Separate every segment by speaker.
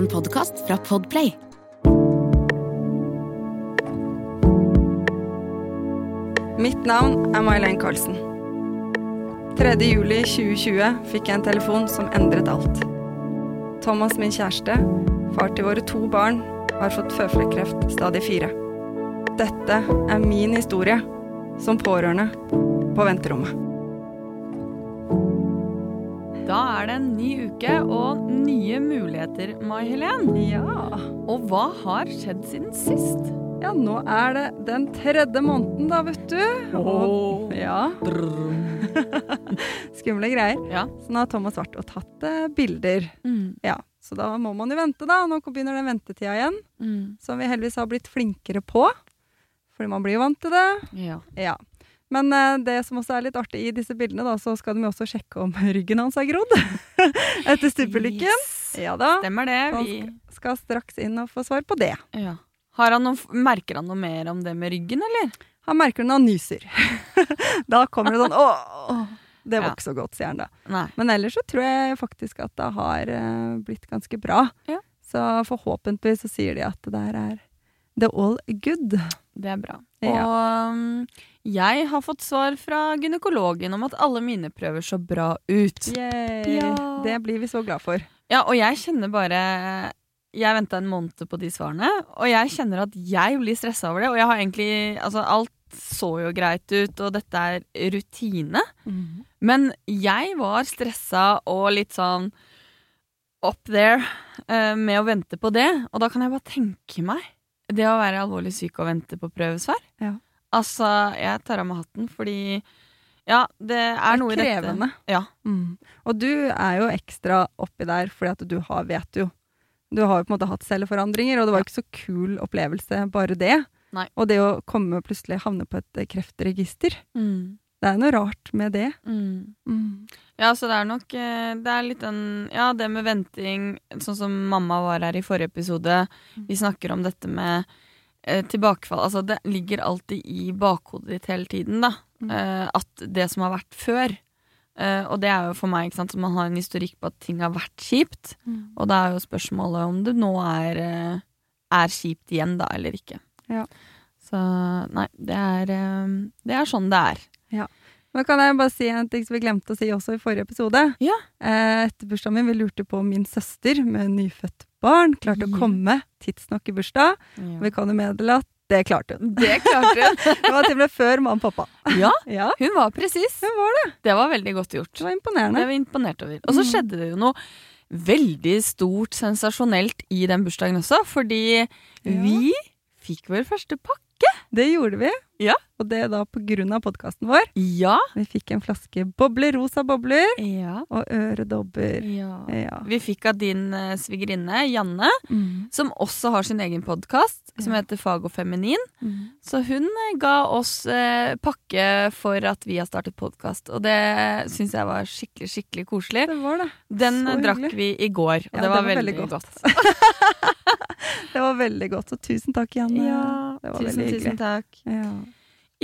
Speaker 1: en podkast fra Podplay.
Speaker 2: Mitt navn er May-Len Carlsen. 3. juli 2020 fikk jeg en telefon som endret alt. Thomas, min kjæreste, far til våre to barn, har fått føflekkreft stadig fire. Dette er min historie som pårørende på venterommet.
Speaker 3: Da er det en ny uke og nye muligheter, Mai Helen.
Speaker 2: Ja.
Speaker 3: Og hva har skjedd siden sist?
Speaker 2: ja, nå er det den tredje måneden, da, vet du. Og,
Speaker 3: Åh.
Speaker 2: ja, skumle greier.
Speaker 3: Ja. Mm.
Speaker 2: Så nå har Thomas vært og tatt eh, bilder. Ja, Så da må man jo vente, da. Nå begynner den ventetida igjen.
Speaker 3: Mm.
Speaker 2: som vi heldigvis har blitt flinkere på. Fordi man blir jo vant til det.
Speaker 3: Ja.
Speaker 2: Ja. Men eh, det som også er litt artig i disse bildene, da, så skal de jo også sjekke om ryggen hans er grodd. Etter stupelykken.
Speaker 3: Yes.
Speaker 2: Ja da.
Speaker 3: Stemmer det.
Speaker 2: Han
Speaker 3: Vi,
Speaker 2: Skal straks inn og få svar på det.
Speaker 3: ja. har han noe, merker han noe mer om det med ryggen, eller?
Speaker 2: Han merker når han nyser. da kommer det sånn åh, åh, Det var
Speaker 3: Ja.
Speaker 2: ikke så godt, sier han da.
Speaker 3: Nei.
Speaker 2: Men ellers så tror jeg faktisk at det har eh, blitt ganske bra.
Speaker 3: Ja.
Speaker 2: Så forhåpentligvis så sier de at det der er the all good.
Speaker 3: Det er bra.
Speaker 2: Ja.
Speaker 3: Og um, jeg har fått svar fra gynekologen om at alle mine prøver så bra ut.
Speaker 2: Yay.
Speaker 3: Ja.
Speaker 2: Det blir vi så glad for.
Speaker 3: Ja, og jeg kjenner bare Jeg venta en måned på de svarene, og jeg kjenner at jeg blir stressa over det. Og jeg har egentlig Altså, alt så jo greit ut, og dette er rutine. Mm. Men jeg var stressa og litt sånn up there eh, med å vente på det. Og da kan jeg bare tenke meg det å være alvorlig syk og vente på prøvesvar.
Speaker 2: Ja.
Speaker 3: Altså, jeg tar av meg hatten fordi Ja, det er, noe i dette.
Speaker 2: krevende.
Speaker 3: Ja.
Speaker 2: Mm. Og du er jo ekstra oppi der, fordi at du har, vet jo Du har jo på en måte hatt celleforandringer, og det var jo ikke så kul opplevelse, bare det.
Speaker 3: Nei.
Speaker 2: Og det å komme og plutselig havne på et eh, kreftregister.
Speaker 3: Mm,
Speaker 2: Det er noe rart med det.
Speaker 3: mm. Ja, så det er nok eh, Det er litt den Ja, det med venting, sånn som mamma var her i forrige episode.
Speaker 2: Mm.
Speaker 3: Vi snakker om dette med eh, tilbakefall. Altså, det ligger alltid i bakhodet ditt hele tiden, da.
Speaker 2: Mm.
Speaker 3: Eh, at det som har vært før. Eh, og det er jo for meg, ikke sant, så man har en historikk på at ting har vært kjipt. Og da er jo spørsmålet om det nå er, eh, er kjipt igjen, da, eller ikke.
Speaker 2: Ja.
Speaker 3: Så nei, det er, eh, det er sånn det er.
Speaker 2: Men kan jeg bare si en ting som vi glemte å si også i forrige episode?
Speaker 3: Ja.
Speaker 2: Eh, Etter bursdagen min, vi lurte på om min søster med nyfødt barn klarte
Speaker 3: Ja.
Speaker 2: å komme tidsnok i bursdag. Vi kan jo meddele at det klarte hun.
Speaker 3: Det klarte hun.
Speaker 2: Det var til og med før mamma og pappa.
Speaker 3: ja,
Speaker 2: Ja,
Speaker 3: hun var presis.
Speaker 2: hun var det.
Speaker 3: Det var veldig godt gjort.
Speaker 2: Det var
Speaker 3: Det
Speaker 2: imponerende.
Speaker 3: var jeg imponert over. Og så
Speaker 2: Mm.
Speaker 3: skjedde det jo noe veldig stort, sensasjonelt i den bursdagen også, fordi vi fikk vår første pakke.
Speaker 2: Det gjorde vi.
Speaker 3: Ja. Ah.
Speaker 2: Og det er da på grunn av podkasten vår.
Speaker 3: Ja.
Speaker 2: Vi fikk en flaske bobler, rosa bobler
Speaker 3: ja.
Speaker 2: og øredobber. Ja.
Speaker 3: Vi fikk av din eh, svigerinne, Janne, som også har sin egen podkast, som
Speaker 2: Ja.
Speaker 3: heter Fag og feminin. Så hun eh, ga oss eh, pakke for at vi har startet podkast, og det syns jeg var skikkelig, skikkelig koselig.
Speaker 2: Det var det.
Speaker 3: Den
Speaker 2: Så
Speaker 3: eh, drakk
Speaker 2: hyggelig.
Speaker 3: vi i går, og
Speaker 2: Ja,
Speaker 3: det, var veldig, godt.
Speaker 2: Det var veldig godt. Så tusen takk, eh, Janne.
Speaker 3: Ja,
Speaker 2: det var
Speaker 3: tusen,
Speaker 2: veldig hyggelig.
Speaker 3: tusen takk.
Speaker 2: Ja.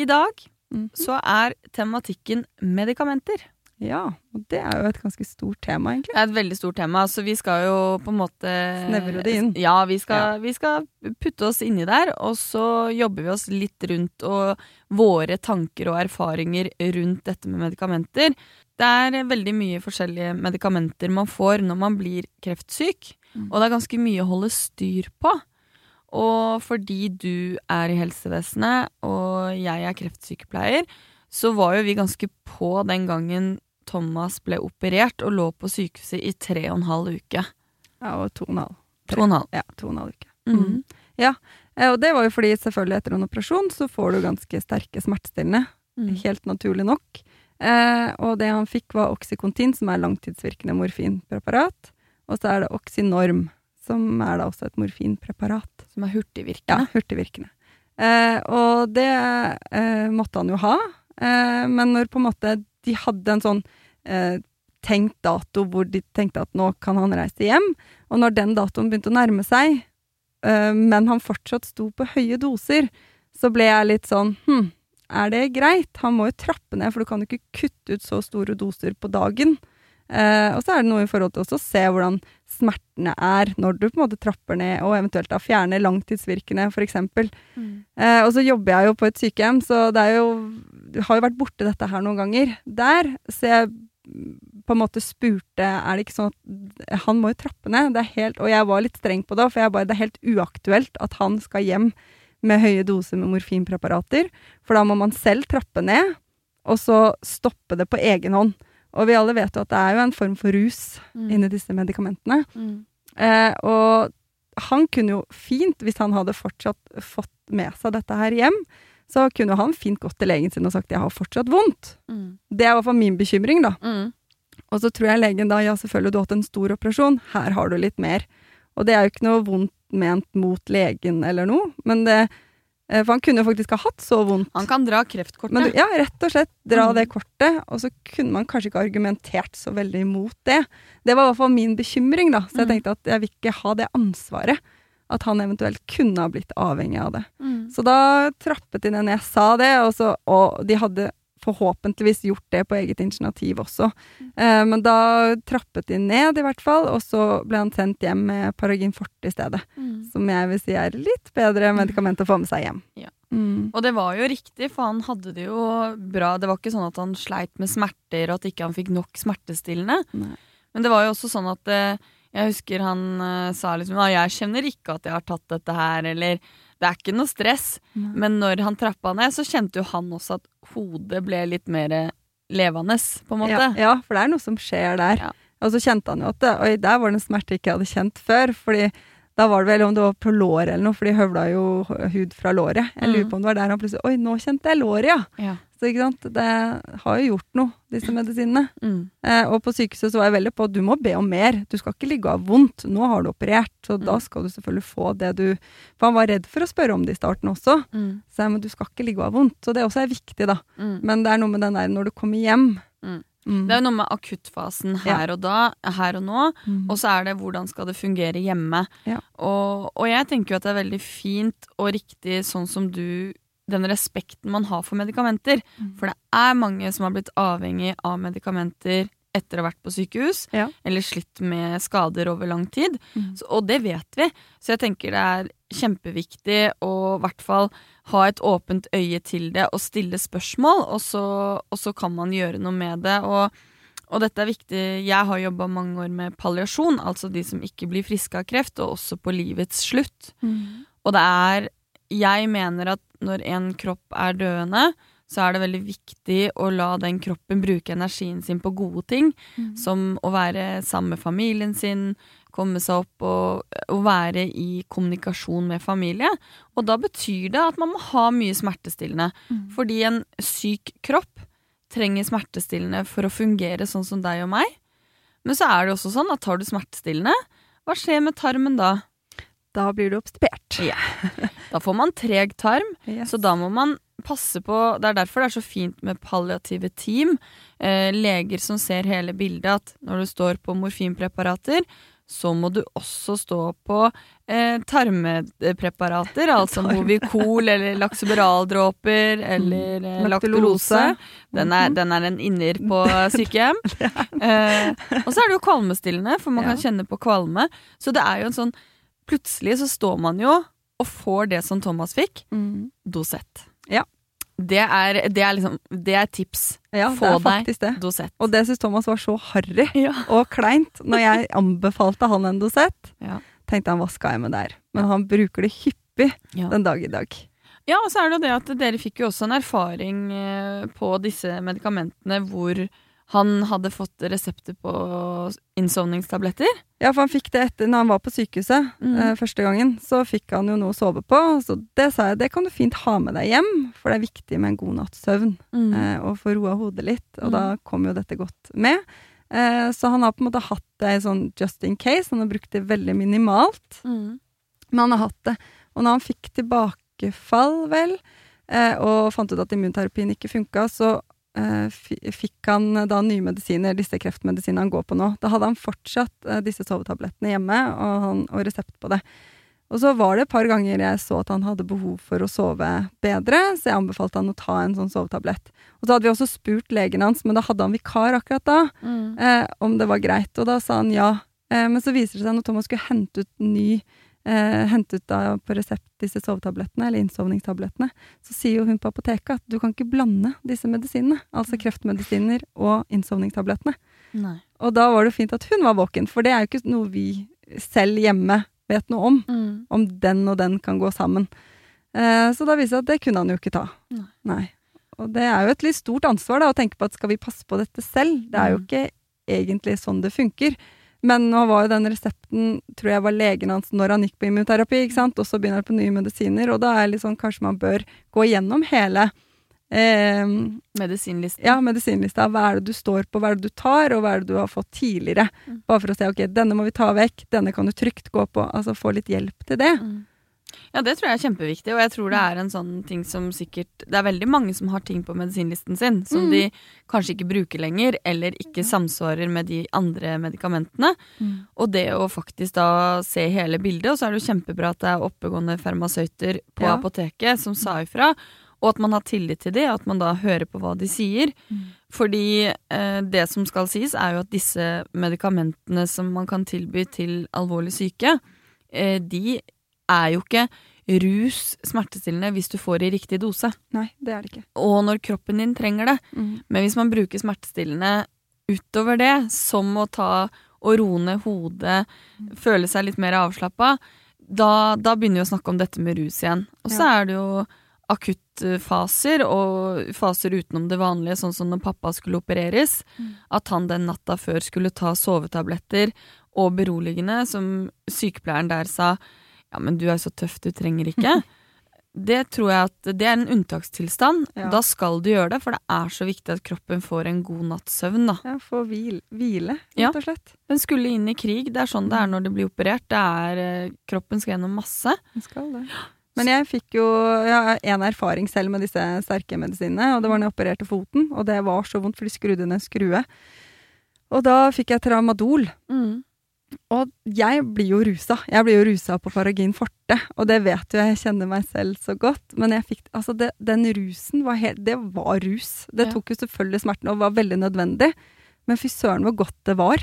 Speaker 3: I dag
Speaker 2: Mhm.
Speaker 3: så er tematikken medikamenter.
Speaker 2: ja. Og det er jo et ganske stort tema, egentlig.
Speaker 3: Det er et veldig stort tema, så vi skal jo på en måte
Speaker 2: Snevre det inn.
Speaker 3: Ja, vi skal, Vi skal putte oss inni der, og så jobber vi oss litt rundt og våre tanker og erfaringer rundt dette med medikamenter. Det er veldig mye forskjellige medikamenter man får når man blir kreftsyk,
Speaker 2: Mm.
Speaker 3: og det er ganske mye å holde styr på. Og fordi du er i helsevesenet, og jeg er kreftsykepleier, så var jo vi ganske på den gangen Thomas ble operert og lå på sykehuset i tre og en halv uke.
Speaker 2: Ja, og to og en halv.
Speaker 3: To og en halv.
Speaker 2: Ja, to og en halv uke.
Speaker 3: Mhm.
Speaker 2: Eh, Og det var jo fordi selvfølgelig etter en operasjon så får du ganske sterke smertestillende.
Speaker 3: Mhm.
Speaker 2: helt naturlig nok. Eh, og det han fikk var Oxycontin, som er langtidsvirkende morfinpreparat. Og så er det Oxynorm, som er da også et morfinpreparat.
Speaker 3: Som er hurtigvirkende.
Speaker 2: Ja, hurtigvirkende. Eh, og det eh, måtte han jo ha. Eh, men når på en måte de hadde en sånn eh, tenkt dato hvor de tenkte at nå kan han reise hjem, og når den datoen begynte å nærme seg, eh, men han fortsatt sto på høye doser, så ble jeg litt sånn hm, er det greit? Han må jo trappe ned, for du kan jo ikke kutte ut så store doser på dagen. Eh, Eh, og så er det noe i forhold til også å se hvordan smertene er når du på en måte trapper ned og eventuelt da fjerner langtidsvirkende f.eks. Eh, og så jobber jeg jo på et sykehjem, så det er jo jeg har jo vært borte dette her noen ganger der. Så jeg mm, på en måte spurte er det ikke sånn at han må jo trappe ned. Det er helt, og jeg var litt streng på det, for jeg bare, det er helt uaktuelt at han skal hjem med høye doser med morfinpreparater. For da må man selv trappe ned, og så stoppe det på egen hånd. Og vi alle vet jo at det er jo en form for rus inni disse medikamentene. Eh, og han kunne jo fint, hvis han hadde fortsatt fått med seg dette her hjem, så kunne jo han fint gått til legen sin og sagt 'jeg har fortsatt vondt'. Det er i hvert fall min bekymring, da.
Speaker 3: Mm.
Speaker 2: Og så tror jeg legen da 'ja, selvfølgelig, du har hatt en stor operasjon, her har du litt mer'. Og det er jo ikke noe vondt ment mot legen eller noe, men det eh, For han kunne jo faktisk ha hatt så vondt.
Speaker 3: Han kan dra kreftkortet.
Speaker 2: Men du, ja, rett og slett dra
Speaker 3: Mm.
Speaker 2: det kortet, og så kunne man kanskje ikke argumentert så veldig imot det. Det var i hvert fall min bekymring, da. Så jeg
Speaker 3: Mm.
Speaker 2: tenkte at jeg vil ikke ha det ansvaret. At han eventuelt kunne ha blitt avhengig av det.
Speaker 3: Mm.
Speaker 2: Så da trappet de ned når jeg sa det, og, så, og de hadde forhåpentligvis gjort det på eget initiativ også. Eh, men da trappet de ned, i hvert fall, og så ble han sendt hjem med Paragin Forte i stedet. Som jeg vil si er litt bedre medikament å få med seg hjem.
Speaker 3: Ja.
Speaker 2: Mm.
Speaker 3: Og det var jo riktig, for han hadde det jo bra. Det var ikke sånn at han sleit med smerter, og at ikke han fikk nok smertestillende.
Speaker 2: Nei.
Speaker 3: Men det var jo også sånn at eh, jeg husker han eh, sa liksom at jeg kjenner ikke at jeg har tatt dette her, eller det er ikke noe stress.
Speaker 2: Nei.
Speaker 3: Men når han trappa ned, så kjente jo han også at hodet ble litt mer eh, levende, på en måte.
Speaker 2: Ja, ja, for det er noe som skjer der.
Speaker 3: Ja.
Speaker 2: Og så kjente han jo at det, Oi, der var det en smerte jeg ikke hadde kjent før. Fordi da var det vel om det var på låret eller noe, for de høvla jo hud fra låret. Jeg lurer
Speaker 3: Mm.
Speaker 2: på om det var der han plutselig Oi, nå kjente jeg låret, ja!
Speaker 3: Ja.
Speaker 2: Så ikke sant? det har jo gjort noe, disse medisinene.
Speaker 3: Mm.
Speaker 2: Eh, og på sykehuset så var jeg veldig på at du må be om mer. Du skal ikke ligge og ha vondt. Nå har du operert, så da
Speaker 3: Mm.
Speaker 2: skal du selvfølgelig få det du For han var redd for å spørre om det i starten også.
Speaker 3: Mm.
Speaker 2: Så jeg, men du skal ikke ligge og ha vondt. Så det også er viktig, da.
Speaker 3: Mm.
Speaker 2: Men det er noe med den der når du kommer hjem.
Speaker 3: Mm.
Speaker 2: Mm.
Speaker 3: Det er jo noe med akuttfasen her og da, her og nå.
Speaker 2: Mm.
Speaker 3: Og så er det hvordan skal det fungere hjemme.
Speaker 2: Ja.
Speaker 3: Og, og jeg tenker jo at det er veldig fint og riktig sånn som du Den respekten man har for medikamenter.
Speaker 2: Mm.
Speaker 3: For det er mange som har blitt avhengig av medikamenter etter å ha vært på sykehus,
Speaker 2: Ja.
Speaker 3: eller slitt med skader over lang tid.
Speaker 2: Mm.
Speaker 3: Så, og det vet vi. Så jeg tenker det er kjempeviktig å i hvert fall ha et åpent øye til det og stille spørsmål, og så, og så kan man gjøre noe med det. Og, og dette er viktig. Jeg har jobba mange år med palliasjon, altså de som ikke blir friske av kreft, og også på livets slutt. Og det er Jeg mener at når en kropp er døende, så er det veldig viktig å la den kroppen bruke energien sin på gode ting, som å være sammen med familien sin, komme seg opp og, og være i kommunikasjon med familie. Og da betyr det at man må ha mye smertestillende.
Speaker 2: Mm.
Speaker 3: Fordi en syk kropp trenger smertestillende for å fungere sånn som deg og meg. Men så er det også sånn at tar du smertestillende, hva skjer med tarmen da?
Speaker 2: Da blir du obstipert.
Speaker 3: Ja. Da får man treg tarm,
Speaker 2: Yes.
Speaker 3: så da må man passe på Det er derfor det er så fint med palliative team. Eh, leger som ser hele bildet, at når du står på morfinpreparater, så må du også stå på eh, tarmepreparater, altså
Speaker 2: Tarm.
Speaker 3: Movicol eller
Speaker 2: Mm.
Speaker 3: lakseberaldråper eller eh,
Speaker 2: Laktulose.
Speaker 3: laktulose. Den
Speaker 2: Mm.
Speaker 3: er, den er en inner på sykehjem. Eh, og så er det jo kvalmestillende, for
Speaker 2: Ja.
Speaker 3: man kan kjenne på kvalme. Så det er jo en sånn Plutselig så står man jo og får det som Thomas fikk.
Speaker 2: Mm.
Speaker 3: Dosett.
Speaker 2: Ja.
Speaker 3: Det er, det er liksom Det er tips.
Speaker 2: Ja, det
Speaker 3: Få
Speaker 2: er
Speaker 3: deg.
Speaker 2: faktisk det.
Speaker 3: Dosett.
Speaker 2: Og det syns Thomas var så harry
Speaker 3: Ja.
Speaker 2: og kleint når jeg anbefalte han en dosett.
Speaker 3: Ja.
Speaker 2: Tenkte han hva skal jeg med der? Men han bruker det hyppig
Speaker 3: Ja.
Speaker 2: den dag i dag.
Speaker 3: og så er det jo det at dere fikk jo også en erfaring eh, på disse medikamentene hvor han hadde fått resepter på innsovningstabletter.
Speaker 2: Ja, for han fikk det etter når han var på sykehuset
Speaker 3: Mm.
Speaker 2: eh, første gangen. Så fikk han jo noe å sove på, så det sa jeg det kan du fint ha med deg hjem, for det er viktig med en god natts søvn.
Speaker 3: Mm.
Speaker 2: eh, og få roa hodet litt. Og da kom jo dette godt med. Eh, så han har på en måte hatt det i sånn just in case. Han har brukt det veldig minimalt,
Speaker 3: Mm.
Speaker 2: men han har hatt det. Og når han fikk tilbakefall, vel, eh, og fant ut at immunterapien ikke funka, så eh, fi- fikk han da nye medisiner, disse kreftmedisinene han går på nå. Da hadde han fortsatt eh, disse sovetablettene hjemme og, han, og resept på det. Og så var det et par ganger jeg så at han hadde behov for å sove bedre, så jeg anbefalte han å ta en sånn sovetablett. Og så hadde vi også spurt legen hans, men da hadde han vikar akkurat da,
Speaker 3: Mm.
Speaker 2: eh, om det var greit. Og da sa han ja. Eh, men så viser det seg når Thomas skulle hente ut ny eh, hente ut da på resept disse sovetablettene, eller innsovningstablettene, så sier jo hun på apoteket at du kan ikke blande disse medisinene, altså kreftmedisiner og innsovningstablettene.
Speaker 3: Nei.
Speaker 2: Og da var det fint at hun var våken, for det er jo ikke noe vi selv hjemme vet noe om.
Speaker 3: Mm.
Speaker 2: Om den og den kan gå sammen. Eh, så da viser det seg at det kunne han jo ikke ta.
Speaker 3: Nei.
Speaker 2: Og det er jo et litt stort ansvar da, å tenke på at skal vi passe på dette selv? Det er jo
Speaker 3: Mm.
Speaker 2: ikke egentlig sånn det funker. Men nå var jo den resepten, tror jeg var legen hans når han gikk på immunterapi, ikke sant? og så begynner han på nye medisiner, og da er det litt sånn kanskje man bør gå gjennom hele eh,
Speaker 3: Medisinlisten.
Speaker 2: ja, medisinlista. Hva er det du står på, hva er det du tar, og hva er det du har fått tidligere?
Speaker 3: Mm.
Speaker 2: Bare for å se ok, denne må vi ta vekk, denne kan du trygt gå på. Altså få litt hjelp til det.
Speaker 3: Ja, det tror jeg er kjempeviktig, og jeg tror det er en sånn ting som sikkert Det er veldig mange som har ting på medisinlisten sin som
Speaker 2: Mm.
Speaker 3: de kanskje ikke bruker lenger, eller ikke samsvarer med de andre medikamentene.
Speaker 2: Mm.
Speaker 3: Og det å faktisk da se hele bildet, og så er det jo kjempebra at det er oppegående farmasøyter på
Speaker 2: Ja.
Speaker 3: apoteket som sa ifra, og at man har tillit til det, at man da hører på hva de sier.
Speaker 2: Mm.
Speaker 3: Fordi eh, det som skal sies, er jo at disse medikamentene som man kan tilby til alvorlig syke, eh, de er jo ikke rus smertestillende hvis du får i riktig dose,
Speaker 2: Nei, det er det ikke.
Speaker 3: og når kroppen din trenger det. Men hvis man bruker smertestillende utover det, som å ta og roe ned hodet, føle seg litt mer avslappa, da, da begynner vi å snakke om dette med rus igjen. Og så er det jo akuttfaser og faser utenom det vanlige, sånn som når pappa skulle opereres. At han den natta før skulle ta sovetabletter og beroligende, som sykepleieren der sa ja, men du er så tøff, du trenger ikke. Det tror jeg at det er en unntakstilstand.
Speaker 2: Ja.
Speaker 3: Da skal du gjøre det, for det er så viktig at kroppen får en god natts søvn. Da.
Speaker 2: Ja, få hvil, hvile,
Speaker 3: Ja.
Speaker 2: rett og slett.
Speaker 3: Den skulle inn i krig. Det er sånn det er
Speaker 2: Mm.
Speaker 3: når det blir operert. Det er, eh, kroppen skal gjennom masse.
Speaker 2: Den skal det. Men jeg fikk jo jeg har en erfaring selv med disse sterke medisinene, og det var når jeg opererte foten, og det var så vondt, for de skrudde ned en skrue. Og da fikk jeg tramadol. Mm. Og jeg blir jo rusa. Jeg blir jo rusa på Paragin Forte, og det vet jo jeg, jeg kjenner meg selv så godt. Men jeg fikk, altså det, den rusen var helt Det var rus. Det
Speaker 3: Ja.
Speaker 2: tok jo selvfølgelig smerten og var veldig nødvendig. Men fy søren hvor godt det var.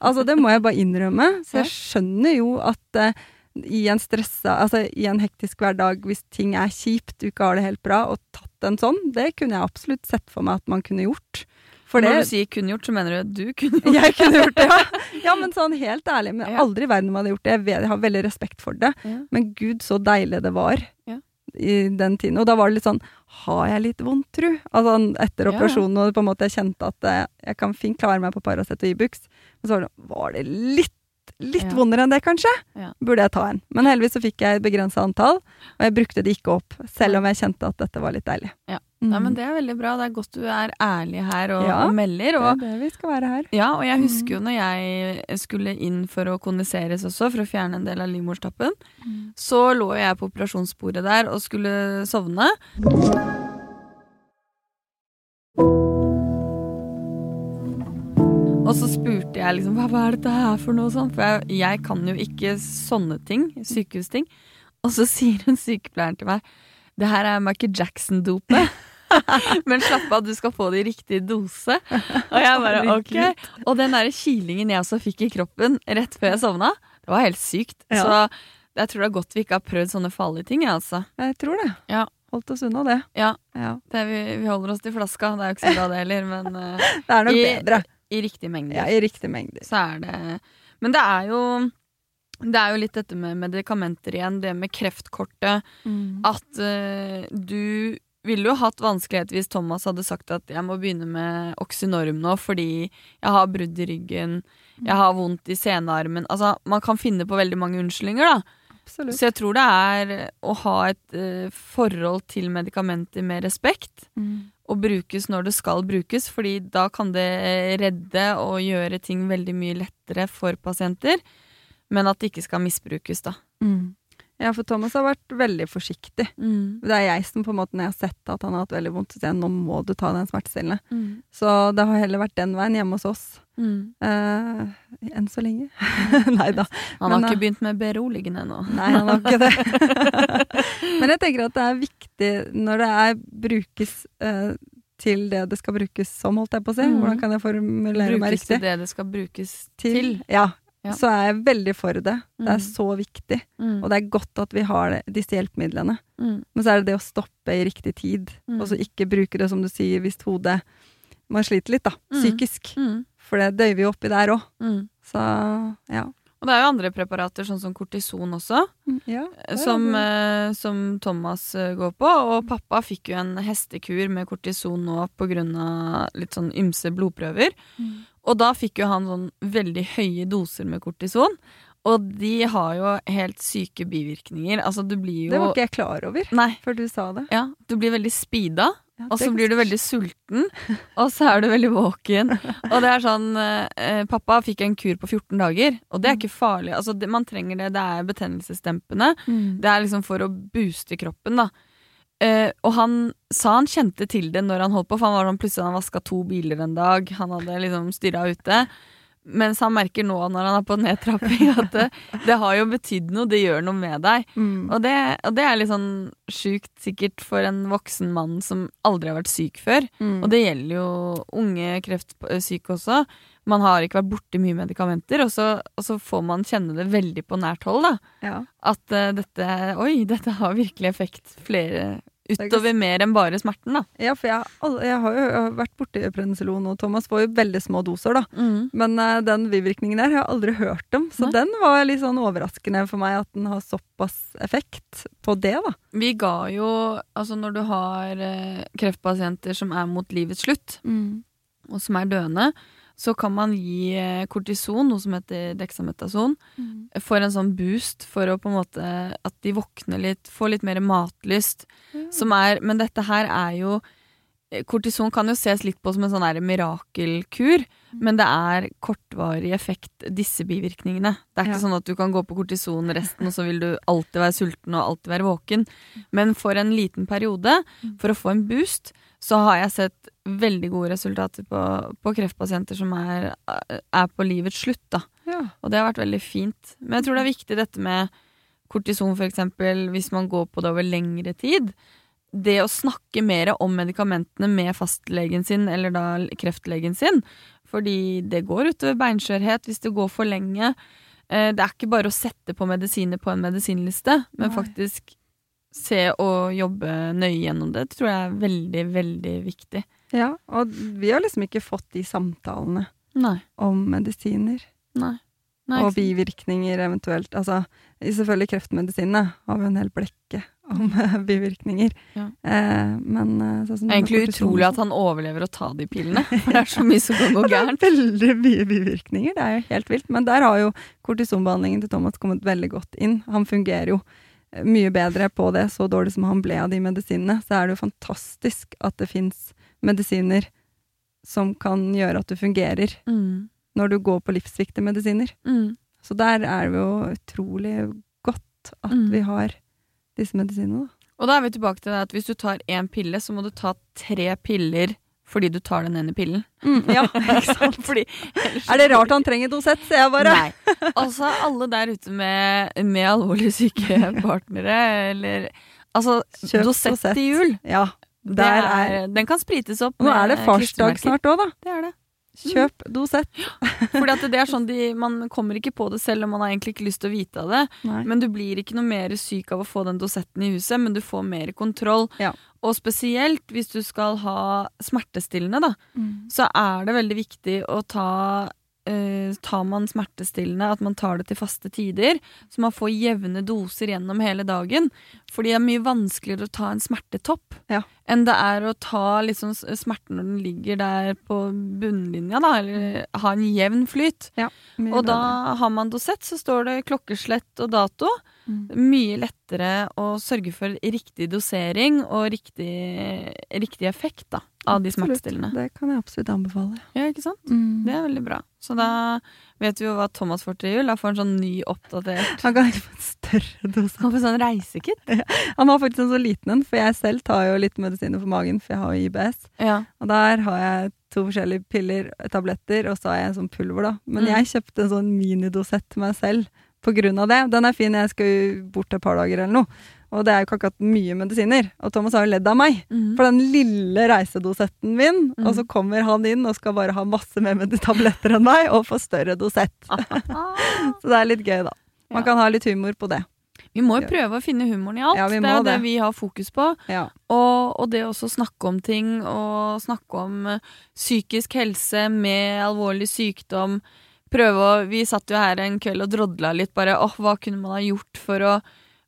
Speaker 2: Altså Det må jeg bare innrømme. Så jeg skjønner jo at eh, i en stressa, altså i en hektisk hverdag, hvis ting er kjipt, du ikke har det helt bra, og tatt en sånn, det kunne jeg absolutt sett for meg at man kunne gjort. For
Speaker 3: Når du sier 'kunne gjort', så mener du du kunne gjort.
Speaker 2: jeg kunne gjort det, ja. Ja, men sånn helt ærlig, men
Speaker 3: Ja.
Speaker 2: aldri i verden om jeg hadde gjort det. Jeg, vet, jeg har veldig respekt for det.
Speaker 3: Ja.
Speaker 2: Men gud, så deilig det var
Speaker 3: Ja.
Speaker 2: i den tiden. Og da var det litt sånn Har jeg litt vondt, tru? Altså etter
Speaker 3: Ja, ja.
Speaker 2: operasjonen og på en måte jeg kjente at eh, jeg kan fint klare meg på Paracet og Ibux, men så var det, sånn, var det litt Litt
Speaker 3: Ja.
Speaker 2: vondere enn det, kanskje.
Speaker 3: Ja.
Speaker 2: Burde jeg ta en. Men heldigvis så fikk jeg et begrensa antall, og jeg brukte det ikke opp. Selv om jeg kjente at dette var litt deilig.
Speaker 3: Ja.
Speaker 2: Mm.
Speaker 3: Nei, men det er veldig bra. Det er godt du er ærlig her og,
Speaker 2: Ja.
Speaker 3: og melder.
Speaker 2: det
Speaker 3: Og,
Speaker 2: er det Mm. vi skal være her.
Speaker 3: Ja, og jeg husker jo når jeg skulle inn for å kondiseres også, for å fjerne en del av livmorstappen, så lå jeg på operasjonsbordet der og skulle sovne. Og så spurte jeg liksom hva, hva er dette her for noe sånt, for jeg, jeg kan jo ikke sånne ting, sykehusting. Og så sier hun sykepleieren til meg det her er Michael Jackson-dopet. Men slapp av, du skal få det i riktig dose. Og jeg bare ok.
Speaker 2: Herregud.
Speaker 3: Og den der kilingen jeg også fikk i kroppen rett før jeg sovna, det var helt sykt.
Speaker 2: Ja.
Speaker 3: Så jeg tror det er godt vi ikke har prøvd sånne farlige ting, jeg, altså.
Speaker 2: Jeg tror det.
Speaker 3: Ja.
Speaker 2: Holdt oss unna det.
Speaker 3: Ja.
Speaker 2: ja.
Speaker 3: Det, vi, vi holder oss til flaska, det er jo ikke så bra det heller, men eh,
Speaker 2: Det er nok
Speaker 3: I-
Speaker 2: bedre.
Speaker 3: i riktig mengde.
Speaker 2: Ja, I riktige mengder.
Speaker 3: så er det Men det er jo det er jo litt dette med medikamenter igjen, det med kreftkortet. At eh, du ville jo hatt vanskelighet hvis Thomas hadde sagt at jeg må begynne med Oxynorm nå fordi jeg har brudd i ryggen, jeg har vondt i senearmen Altså, man kan finne på veldig mange unnskyldninger, da.
Speaker 2: Absolutt.
Speaker 3: Så jeg tror det er å ha et eh, forhold til medikamenter med respekt
Speaker 2: Mm.
Speaker 3: og brukes når det skal brukes, fordi da kan det eh, redde og gjøre ting veldig mye lettere for pasienter, men at det ikke skal misbrukes, da.
Speaker 2: Ja, for Thomas har vært veldig forsiktig.
Speaker 3: Mm.
Speaker 2: Det er jeg som på en måte, når jeg har sett at han har hatt veldig vondt, så sier jeg nå må du ta den smertestillende.
Speaker 3: Mm.
Speaker 2: Så det har heller vært den veien hjemme hos oss.
Speaker 3: Mm.
Speaker 2: Eh, enn så lenge. Nei da.
Speaker 3: Han har
Speaker 2: Men, eh,
Speaker 3: ikke begynt med beroligende ennå.
Speaker 2: Nei, han har ikke det. Men jeg tenker at det er viktig når det er brukes eh, til det det skal brukes som, holdt jeg på å si.
Speaker 3: Mhm.
Speaker 2: Hvordan kan jeg formulere meg
Speaker 3: Brukes
Speaker 2: riktig?
Speaker 3: til det det skal brukes
Speaker 2: Til.
Speaker 3: til.
Speaker 2: Ja.
Speaker 3: Ja.
Speaker 2: Så er jeg veldig for det. Det
Speaker 3: Mhm.
Speaker 2: er så viktig.
Speaker 3: Mm.
Speaker 2: Og det er godt at vi har det, disse hjelpemidlene.
Speaker 3: Mm.
Speaker 2: Men så er det det å stoppe i riktig tid,
Speaker 3: Mhm.
Speaker 2: og så ikke bruke det, som du sier, hvis hodet Man sliter litt, da.
Speaker 3: Mhm.
Speaker 2: Psykisk.
Speaker 3: Mm.
Speaker 2: For det døyver jo oppi der òg.
Speaker 3: Mm.
Speaker 2: Så ja.
Speaker 3: Og det er jo andre preparater, sånn som kortison også,
Speaker 2: ja.
Speaker 3: som, eh, som Thomas eh, går på. Og pappa fikk jo en hestekur med kortison nå pga. litt sånn ymse blodprøver.
Speaker 2: Mm.
Speaker 3: Og da fikk jo han sånn veldig høye doser med kortison. Og de har jo helt syke bivirkninger. Altså, du blir jo
Speaker 2: Det var ikke jeg klar over
Speaker 3: Nei.
Speaker 2: før du sa det.
Speaker 3: Ja, du blir veldig speeda.
Speaker 2: Ja,
Speaker 3: Og
Speaker 2: det
Speaker 3: så
Speaker 2: er
Speaker 3: blir du
Speaker 2: ganske
Speaker 3: veldig sulten, og så er du veldig våken. Og det er sånn eh, Pappa fikk en kur på 14 dager, og
Speaker 2: Mm.
Speaker 3: det er ikke farlig. Altså, det, man trenger det. Det er betennelsesdempende.
Speaker 2: Mm.
Speaker 3: Det er liksom for å booste kroppen, da. Eh, og han sa han kjente til det når han holdt på, for han var sånn plutselig han vaska to biler en dag. Han hadde liksom styra ute. Mens han merker nå når han er på nedtrapping, at det, det har jo betydd noe. Det gjør noe med deg.
Speaker 2: Mm.
Speaker 3: Og det, og det er litt sånn sjukt sikkert for en voksen mann som aldri har vært syk før.
Speaker 2: Mm.
Speaker 3: Og det gjelder jo unge kreftsyke også. Man har ikke vært borti mye medikamenter, og så, og så får man kjenne det veldig på nært hold. da.
Speaker 2: ja.
Speaker 3: At eh, dette Oi, dette har virkelig effekt flere
Speaker 2: er ikke
Speaker 3: Utover mer enn bare smerten, da.
Speaker 2: ja, for jeg, har all- jeg har jo jeg har vært borti prednisolon, og Thomas får jo veldig små doser, da. Men eh, den bivirkningen der har jeg aldri hørt om, så
Speaker 3: Nei.
Speaker 2: den var litt sånn overraskende for meg, at den har såpass effekt på det, da.
Speaker 3: Vi ga jo Altså, når du har eh, kreftpasienter som er mot livets slutt,
Speaker 2: Mm.
Speaker 3: og som er døende, så kan man gi eh, kortison, noe som heter dexametason, for en sånn boost for å på en måte at de våkner litt, får litt mer matlyst. Som er, men dette her er jo eh, Kortison kan jo ses litt på som en sånn der mirakelkur, men det er kortvarig effekt, disse bivirkningene. Det er ikke
Speaker 2: Ja.
Speaker 3: sånn at du kan gå på kortison resten, og så vil du alltid være sulten og alltid være våken. Men for en liten periode, for å få en boost, så har jeg sett veldig gode resultater på, på kreftpasienter som er, er på livets slutt, da.
Speaker 2: Ja.
Speaker 3: Og det har vært veldig fint. Men jeg tror det er viktig dette med kortison, for eksempel, hvis man går på det over lengre tid. Det å snakke mer om medikamentene med fastlegen sin, eller da kreftlegen sin. Fordi det går utover beinskjørhet hvis det går for lenge. Eh, Det er ikke bare å sette på medisiner på en medisinliste, men
Speaker 2: Nei.
Speaker 3: faktisk se og jobbe nøye gjennom det. Det tror jeg er veldig, veldig viktig.
Speaker 2: ja. Og vi har liksom ikke fått de samtalene
Speaker 3: Nei.
Speaker 2: om medisiner
Speaker 3: Nei. Nei
Speaker 2: og
Speaker 3: ikke sant?
Speaker 2: bivirkninger eventuelt. Altså, selvfølgelig kreftmedisinene har jo en hel blekke om eh, bivirkninger.
Speaker 3: Ja.
Speaker 2: Eh, men eh, sånn som
Speaker 3: Det er egentlig
Speaker 2: med kortison og
Speaker 3: utrolig
Speaker 2: sånn.
Speaker 3: at han overlever å ta de pillene. For det er så mye som kan gå
Speaker 2: Det er
Speaker 3: gærent.
Speaker 2: veldig mye bivirkninger, det er jo helt vilt. Men der har jo kortisonbehandlingen til Thomas kommet veldig godt inn. Han fungerer jo eh, mye bedre på det, så dårlig som han ble av de medisinene. Så er det jo fantastisk at det fins medisiner som kan gjøre at du fungerer
Speaker 3: Mm.
Speaker 2: når du går på livsviktige medisiner.
Speaker 3: Mm.
Speaker 2: Så der er det jo utrolig godt at
Speaker 3: Mm.
Speaker 2: vi har disse medisinene, da.
Speaker 3: Og da er vi tilbake til det at hvis du tar én pille, så må du ta tre piller fordi du tar den ene pillen.
Speaker 2: ja, ikke sant?
Speaker 3: Fordi,
Speaker 2: Er det rart han trenger Dosett, ser jeg bare.
Speaker 3: Nei. Altså, alle der ute med, med alvorlig syke partnere, eller Altså,
Speaker 2: Kjøp
Speaker 3: Dosett
Speaker 2: Dosett.
Speaker 3: til jul,
Speaker 2: Ja,
Speaker 3: det
Speaker 2: der
Speaker 3: er,
Speaker 2: er
Speaker 3: den kan sprites opp
Speaker 2: Nå er det farsdag
Speaker 3: klistremerker. Mm.
Speaker 2: snart òg, da.
Speaker 3: Det er det.
Speaker 2: Kjøp Dosett.
Speaker 3: Fordi at det er sånn de, Man kommer ikke på det selv, og man har egentlig ikke lyst til å vite av det.
Speaker 2: Nei.
Speaker 3: Men du blir ikke noe mer syk av å få den dosetten i huset, men du får mer kontroll.
Speaker 2: Ja.
Speaker 3: Og spesielt hvis du skal ha smertestillende, da,
Speaker 2: Mm.
Speaker 3: så er det veldig viktig å ta eh, Tar man smertestillende, at man tar det til faste tider, så man får jevne doser gjennom hele dagen. Fordi det er mye vanskeligere å ta en smertetopp
Speaker 2: Ja.
Speaker 3: enn det er å ta liksom s- smerten når den ligger der på bunnlinja, da, eller ha en jevn flyt.
Speaker 2: Mye
Speaker 3: Og
Speaker 2: bedre.
Speaker 3: da har man dosett, så står det klokkeslett og dato.
Speaker 2: Mm.
Speaker 3: Mye lettere å sørge for riktig dosering og riktig, riktig effekt da, av de
Speaker 2: Absolutt.
Speaker 3: smertestillende.
Speaker 2: Det kan jeg absolutt anbefale.
Speaker 3: Ja, ikke sant? Det er veldig bra. Så da vet vi jo hva Thomas får til jul. Da får han sånn ny oppdatert
Speaker 2: Han kan ikke få en større dose.
Speaker 3: Han får sånn reisekit.
Speaker 2: Han har faktisk en så liten en, for jeg selv tar jo litt medisiner for magen, for jeg har jo IBS.
Speaker 3: Ja.
Speaker 2: Og der har jeg to forskjellige piller, tabletter, og så har jeg en sånn pulver, da. Men
Speaker 3: Mm.
Speaker 2: jeg kjøpte en sånn minidosett til meg selv på grunn av det. Den er fin, jeg skal jo bort et par dager eller noe. Og det er jo ikke akkurat mye medisiner. Og Thomas har jo ledd av meg. For den lille reisedosetten min,
Speaker 3: Mm.
Speaker 2: og så kommer han inn og skal bare ha masse mer med tabletter enn meg, og få større dosett. Så det er litt gøy, da. Man
Speaker 3: Ja.
Speaker 2: kan ha litt humor på det.
Speaker 3: Vi må jo prøve å finne humoren i alt.
Speaker 2: Ja, vi
Speaker 3: det
Speaker 2: må
Speaker 3: er jo det
Speaker 2: det.
Speaker 3: vi har fokus på.
Speaker 2: Ja.
Speaker 3: Og, og det å også snakke om ting, og snakke om eh, psykisk helse med alvorlig sykdom. Prøve å Vi satt jo her en kveld og drodla litt, bare åh, hva kunne man ha gjort for å,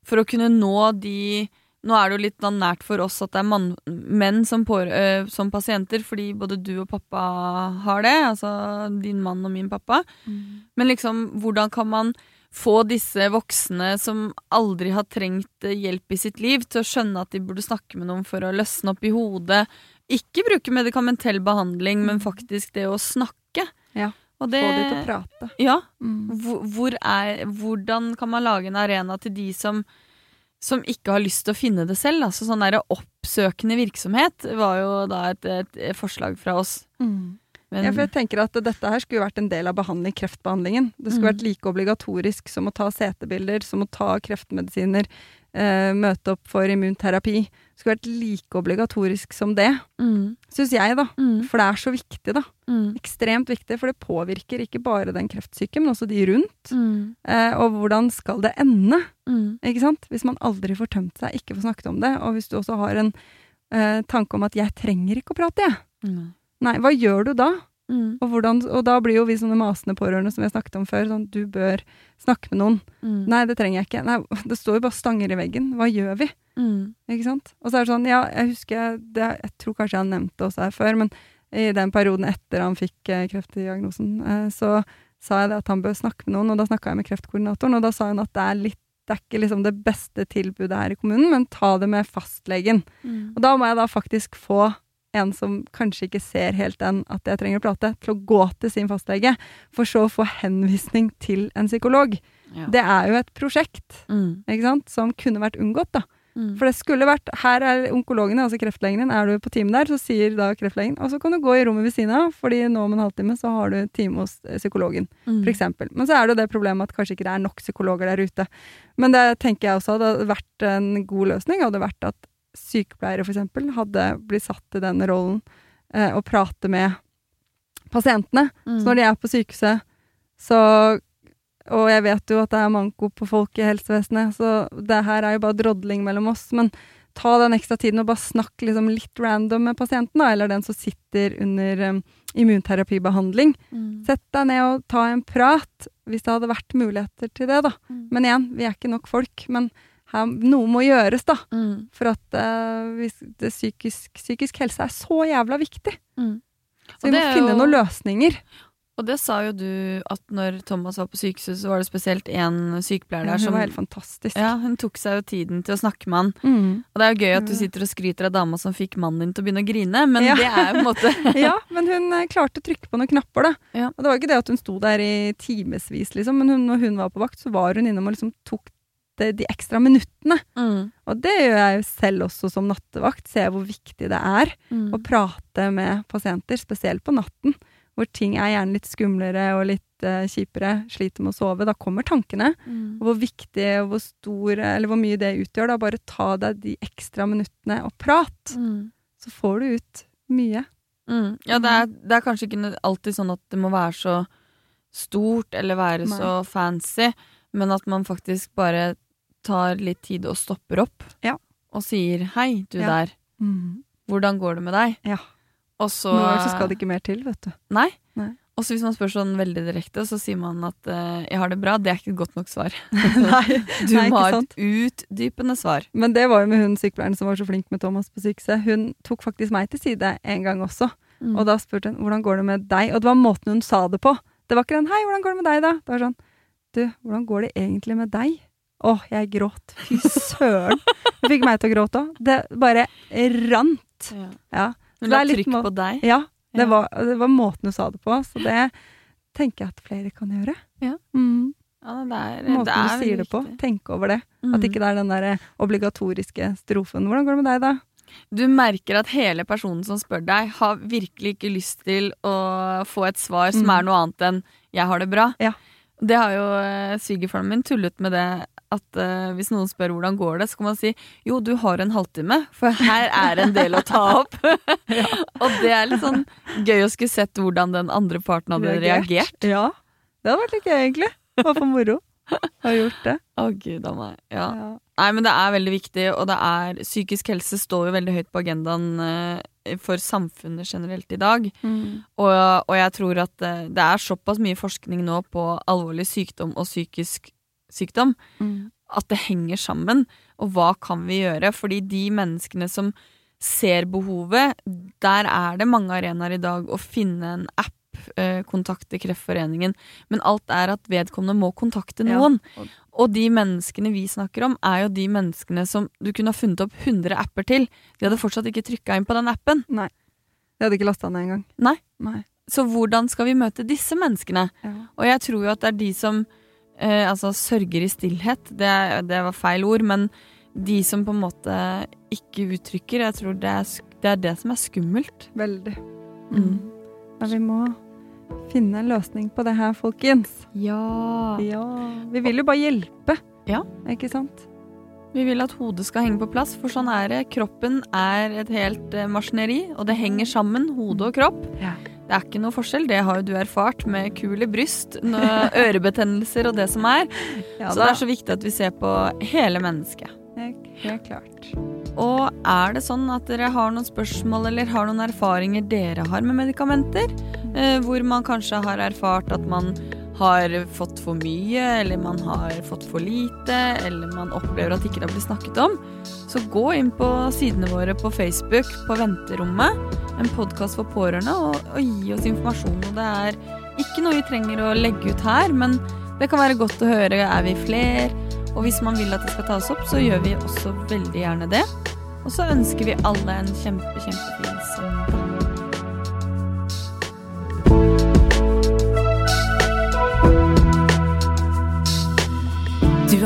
Speaker 3: for å kunne nå de Nå er det jo litt sånn nært for oss at det er mann, menn som, pårø- eh, som pasienter, fordi både du og pappa har det, altså din mann og min pappa.
Speaker 2: Mm.
Speaker 3: Men liksom, hvordan kan man få disse voksne som aldri har trengt eh, hjelp i sitt liv, til å skjønne at de burde snakke med noen for å løsne opp i hodet? Ikke bruke medikamentell behandling, men faktisk det å snakke.
Speaker 2: Mm. Ja,
Speaker 3: Og
Speaker 2: Få
Speaker 3: det,
Speaker 2: de til å prate.
Speaker 3: ja, hvor, hvor er, hvordan kan man lage en arena til de som som ikke har lyst til å finne det selv. Altså sånn der oppsøkende virksomhet var jo da et, et forslag fra oss. Men,
Speaker 2: Ja, for jeg tenker at dette her skulle vært en del av behandling, kreftbehandlingen. Det skulle
Speaker 3: Mm.
Speaker 2: vært like obligatorisk som å ta CT-bilder, som å ta kreftmedisiner, eh, møte opp for immunterapi. Det skulle vært like obligatorisk som det,
Speaker 3: mm,
Speaker 2: syns jeg, da.
Speaker 3: mm,
Speaker 2: For det er så viktig, da.
Speaker 3: mm,
Speaker 2: Ekstremt viktig, for det påvirker ikke bare den kreftsyke, men også de rundt.
Speaker 3: mm,
Speaker 2: Eh, og hvordan skal det ende?
Speaker 3: mm.
Speaker 2: Ikke sant? Hvis man aldri får tømt seg, ikke får snakket om det, og hvis du også har en eh, tanke om at 'jeg trenger ikke å prate', jeg.
Speaker 3: Mm.
Speaker 2: Nei, hva gjør du da?
Speaker 3: Mm.
Speaker 2: Og, hvordan, og da blir jo vi sånne masende pårørende som vi har snakket om før, sånn 'du bør snakke med noen'.
Speaker 3: Mm.
Speaker 2: Nei, det trenger jeg ikke. Nei, det står jo bare stanger i veggen. Hva gjør vi?
Speaker 3: Mm.
Speaker 2: Ikke sant? Og så er det sånn, ja, jeg husker det, Jeg tror kanskje jeg har nevnt det også her før, men i den perioden etter han fikk eh, kreftdiagnosen, eh, så sa jeg det at han bør snakke med noen, og da snakka jeg med kreftkoordinatoren, og da sa hun at det er litt det er ikke liksom det beste tilbudet her i kommunen, men ta det med fastlegen.
Speaker 3: Mm.
Speaker 2: Og da må jeg da faktisk få en som kanskje ikke ser helt den at jeg trenger å prate, til å gå til sin fastlege, for så å få henvisning til en psykolog.
Speaker 3: Ja.
Speaker 2: Det er jo et prosjekt
Speaker 3: Mm.
Speaker 2: ikke sant, som kunne vært unngått, da.
Speaker 3: Mm.
Speaker 2: For det skulle vært Her er onkologen, altså kreftlegen din. Er du på time der, så sier da kreftlegen Og så kan du gå i rommet ved siden av, fordi nå om en halvtime så har du time hos eh, psykologen,
Speaker 3: Mm.
Speaker 2: f.eks. Men så er det jo det problemet at kanskje ikke det er nok psykologer der ute. Men det tenker jeg også hadde vært en god løsning, hadde vært at sykepleiere f.eks. hadde blitt satt i den rollen eh, å prate med pasientene.
Speaker 3: mm,
Speaker 2: Så når de er på sykehuset, så Og jeg vet jo at det er manko på folk i helsevesenet, så det her er jo bare drodling mellom oss. Men ta den ekstra tiden og bare snakk liksom litt random med pasienten, da, eller den som sitter under um, immunterapibehandling.
Speaker 3: Mm.
Speaker 2: Sett deg ned og ta en prat, hvis det hadde vært muligheter til det, da.
Speaker 3: Mm.
Speaker 2: Men igjen, vi er ikke nok folk. Men her, noe må gjøres, da.
Speaker 3: Mm.
Speaker 2: For at eh, hvis det psykisk, psykisk helse er så jævla viktig.
Speaker 3: Mm.
Speaker 2: Så
Speaker 3: Og
Speaker 2: vi
Speaker 3: det
Speaker 2: må
Speaker 3: er
Speaker 2: finne
Speaker 3: jo-
Speaker 2: noen løsninger.
Speaker 3: Og det sa jo du at når Thomas var på sykehuset, så var det spesielt én
Speaker 2: Ja,
Speaker 3: sykepleier der
Speaker 2: det
Speaker 3: som
Speaker 2: var helt fantastisk.
Speaker 3: ja, hun tok seg jo tiden til å snakke med han.
Speaker 2: Mm.
Speaker 3: Og det er jo gøy at du
Speaker 2: Ja.
Speaker 3: sitter og skryter av dama som fikk mannen din til å begynne å grine, men
Speaker 2: Ja.
Speaker 3: det er jo på en måte
Speaker 2: ja, men hun eh, klarte å trykke på noen knapper, da.
Speaker 3: Ja.
Speaker 2: Og det var ikke det at hun sto der i timevis, liksom, men hun, når hun var på vakt, så var hun innom og liksom tok det, de ekstra minuttene.
Speaker 3: mm.
Speaker 2: Og det gjør jeg jo selv også som nattevakt, ser jeg hvor viktig det er å
Speaker 3: Mm.
Speaker 2: prate med pasienter, spesielt på natten, hvor ting er gjerne litt skumlere og litt eh, kjipere, sliter med å sove. Da kommer tankene.
Speaker 3: Mm.
Speaker 2: Og hvor viktig og hvor stor, eller hvor mye det utgjør, da bare ta deg de ekstra minuttene og prat,
Speaker 3: Mm.
Speaker 2: så får du ut mye.
Speaker 3: Mm. Ja, det er, det er kanskje ikke nød- alltid sånn at det må være så stort eller være
Speaker 2: Nei.
Speaker 3: så fancy, men at man faktisk bare tar litt tid og stopper opp
Speaker 2: Ja.
Speaker 3: og sier 'hei, du
Speaker 2: Ja.
Speaker 3: der, Mm. hvordan går det med deg?'
Speaker 2: Ja.
Speaker 3: Og så,
Speaker 2: Noen ganger så skal det ikke mer til, vet du.
Speaker 3: Nei.
Speaker 2: Nei.
Speaker 3: Og så hvis man spør sånn veldig direkte, så sier man at eh, 'jeg har det bra'. Det er ikke et godt nok svar.
Speaker 2: Nei.
Speaker 3: Du
Speaker 2: Nei, ikke
Speaker 3: må ha
Speaker 2: sant.
Speaker 3: et utdypende svar.
Speaker 2: Men det var jo med hun sykepleieren som var så flink med Thomas på sykehuset. Hun tok faktisk meg til side en gang også,
Speaker 3: Mm.
Speaker 2: og da spurte hun hvordan går det med deg? Og det var måten hun sa det på. Det var ikke den 'hei, hvordan går det med deg', da. Det var sånn 'du, hvordan går det egentlig med deg'? Åh, jeg gråt. Fy søren. Det fikk meg til å gråte òg. Det bare rant.
Speaker 3: ja.
Speaker 2: Ja.
Speaker 3: Hun
Speaker 2: Det
Speaker 3: la
Speaker 2: er litt
Speaker 3: trykk
Speaker 2: må-
Speaker 3: på deg.
Speaker 2: ja det,
Speaker 3: Ja.
Speaker 2: var, det var måten hun sa det på, så det tenker jeg at flere kan gjøre.
Speaker 3: Ja.
Speaker 2: Mm.
Speaker 3: Ja, det er,
Speaker 2: Måten
Speaker 3: det er
Speaker 2: du sier det på.
Speaker 3: viktig.
Speaker 2: Tenk over det. At
Speaker 3: Mhm.
Speaker 2: ikke det er den der obligatoriske strofen. Hvordan går det med deg, da?
Speaker 3: Du merker at hele personen som spør deg, har virkelig ikke lyst til å få et svar som
Speaker 2: Mm.
Speaker 3: er noe annet enn 'jeg har det bra'.
Speaker 2: Ja.
Speaker 3: Det har jo eh, svigerfaren min tullet med det. At eh, Hvis noen spør hvordan går det, så kan man si 'jo, du har en halvtime', for her er en del å ta opp. Og det er litt sånn gøy å skulle sett hvordan den andre parten hadde reagert.
Speaker 2: Ja. Det hadde vært litt gøy, egentlig. Bare for moro. Har gjort det.
Speaker 3: Å gud a meg. Ja.
Speaker 2: Ja.
Speaker 3: Nei, men det er veldig viktig, og det er Psykisk helse står jo veldig høyt på agendaen eh, for samfunnet generelt i dag. Og, og jeg tror at eh, det er såpass mye forskning nå på alvorlig sykdom og psykisk sykdom
Speaker 2: Mm.
Speaker 3: at det henger sammen. Og hva kan vi gjøre? Fordi de menneskene som ser behovet, der er det mange arenaer i dag å finne en app. eh, Kontakte Kreftforeningen. Men alt er at vedkommende må kontakte
Speaker 2: Ja.
Speaker 3: noen.
Speaker 2: Og-
Speaker 3: Og de menneskene vi snakker om, er jo de menneskene som du kunne ha funnet opp 100 apper til. De hadde fortsatt ikke trykka inn på den appen.
Speaker 2: Jeg hadde ikke lasta ned engang.
Speaker 3: Nei.
Speaker 2: Nei.
Speaker 3: Så hvordan skal vi møte disse menneskene?
Speaker 2: Ja.
Speaker 3: Og jeg tror jo at det er de som eh, altså, sørger i stillhet. Det, det var feil ord, men de som på en måte ikke uttrykker. Jeg tror det er, sk- det, er det som er skummelt.
Speaker 2: Veldig.
Speaker 3: Mm.
Speaker 2: Men vi må finne en løsning på det her, folkens.
Speaker 3: Ja.
Speaker 2: Ja. Vi vil jo bare hjelpe.
Speaker 3: Ja.
Speaker 2: Ikke sant?
Speaker 3: Vi vil at hodet skal henge på plass, for sånn er det. Kroppen er et helt eh, maskineri, og det henger sammen, hode og kropp.
Speaker 2: Ja.
Speaker 3: Det er ikke noe forskjell, det har jo du erfart med kule bryst, nå- ørebetennelser og det som er. så det er så viktig at vi ser på hele mennesket.
Speaker 2: Helt klart.
Speaker 3: Og er det sånn at dere har noen spørsmål eller har noen erfaringer dere har med medikamenter? Eh, hvor man kanskje har erfart at man har fått for mye, eller man har fått for lite, eller man opplever at ikke det blir snakket om. Så gå inn på sidene våre på Facebook, på Venterommet, en podkast for pårørende, og, og gi oss informasjon. Og det er ikke noe vi trenger å legge ut her, men det kan være godt å høre. Er vi fler? Og hvis man vil at det skal tas opp, så gjør vi også veldig gjerne det. Og så ønsker vi alle en kjempe, kjempefin søndag.
Speaker 1: Du